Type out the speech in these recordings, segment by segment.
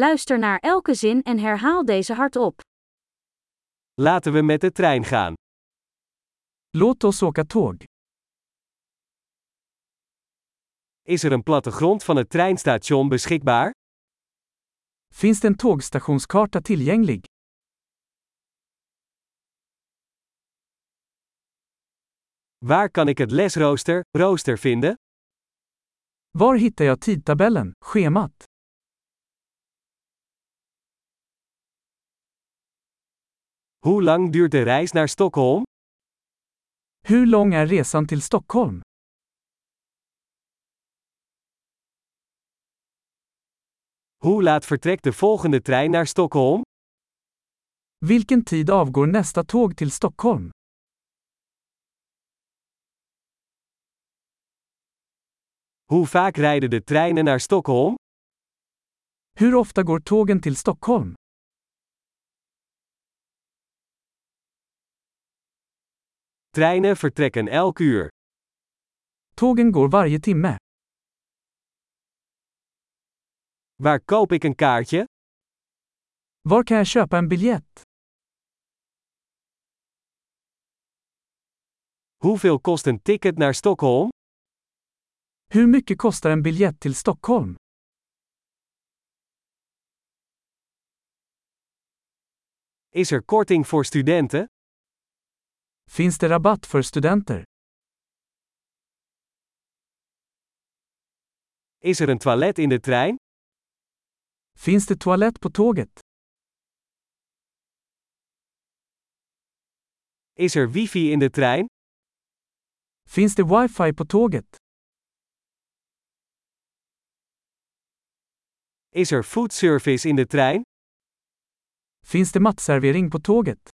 Luister naar elke zin en herhaal deze hardop. Laten we met de trein gaan. Låt oss åka tåg. Is er een plattegrond van het treinstation beschikbaar? Finns det en tågstationskarta tillgänglig? Waar kan ik het lesrooster, rooster vinden? Var hittar jag tidtabellen, schemat? Hoe lang duurt de reis naar Stockholm? Hur lång är resan till Stockholm? Hoe laat vertrekt de volgende trein naar Stockholm? Vilken tid avgår nästa tåg till Stockholm? Hoe vaak rijden de treinen naar Stockholm? Hur ofta går tågen till Stockholm? Treinen vertrekken elk uur. Tågen går varje timme. Waar koop ik een kaartje? Var kan jag köpa en biljett? Hoeveel kost een ticket naar Stockholm? Hur mycket kostar en biljett till Stockholm? Is er korting voor studenten? Finns det rabatt för studenter? Is er een toilet in de trein? Finns det toalett på tåget? Is er wifi in de trein? Finns det wifi på tåget? Is er foodservice in de trein? Finns det matservering på tåget?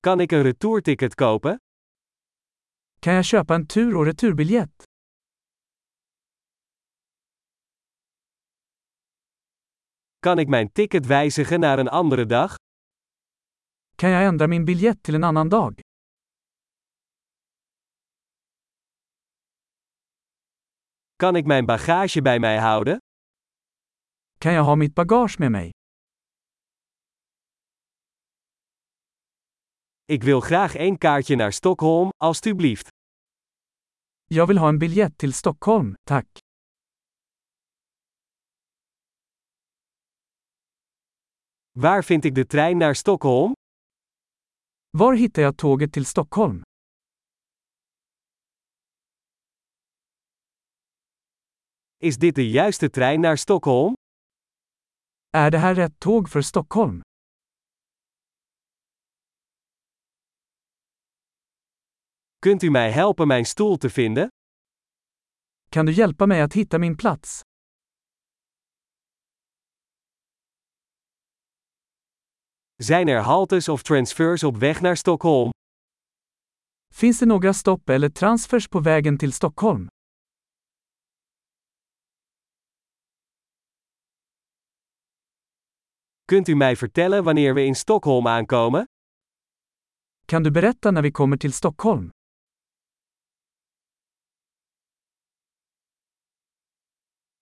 Kan ik een retourticket kopen? Kan jag köpa en tur och returbiljett? Kan ik mijn ticket wijzigen naar een andere dag? Kan jag ändra min biljett till en annan dag? Kan ik mijn bagage bij mij houden? Kan jag ha mitt bagage med mig? Ik wil graag één kaartje naar Stockholm, alstublieft. Jag vill ha en biljett till Stockholm, tack. Waar vind ik de trein naar Stockholm? Var hittar jag tåget till Stockholm? Is dit de juiste trein naar Stockholm? Är det här rätt tåg för Stockholm? Kunt u mij helpen mijn stoel te vinden? Kan du hjälpa mig att hitta min plats? Zijn er haltes of transfers op weg naar Stockholm? Finns det några stopp eller transfers på vägen till Stockholm? Kunt u mij vertellen wanneer we in Stockholm aankomen? Kan du berätta när vi kommer till Stockholm?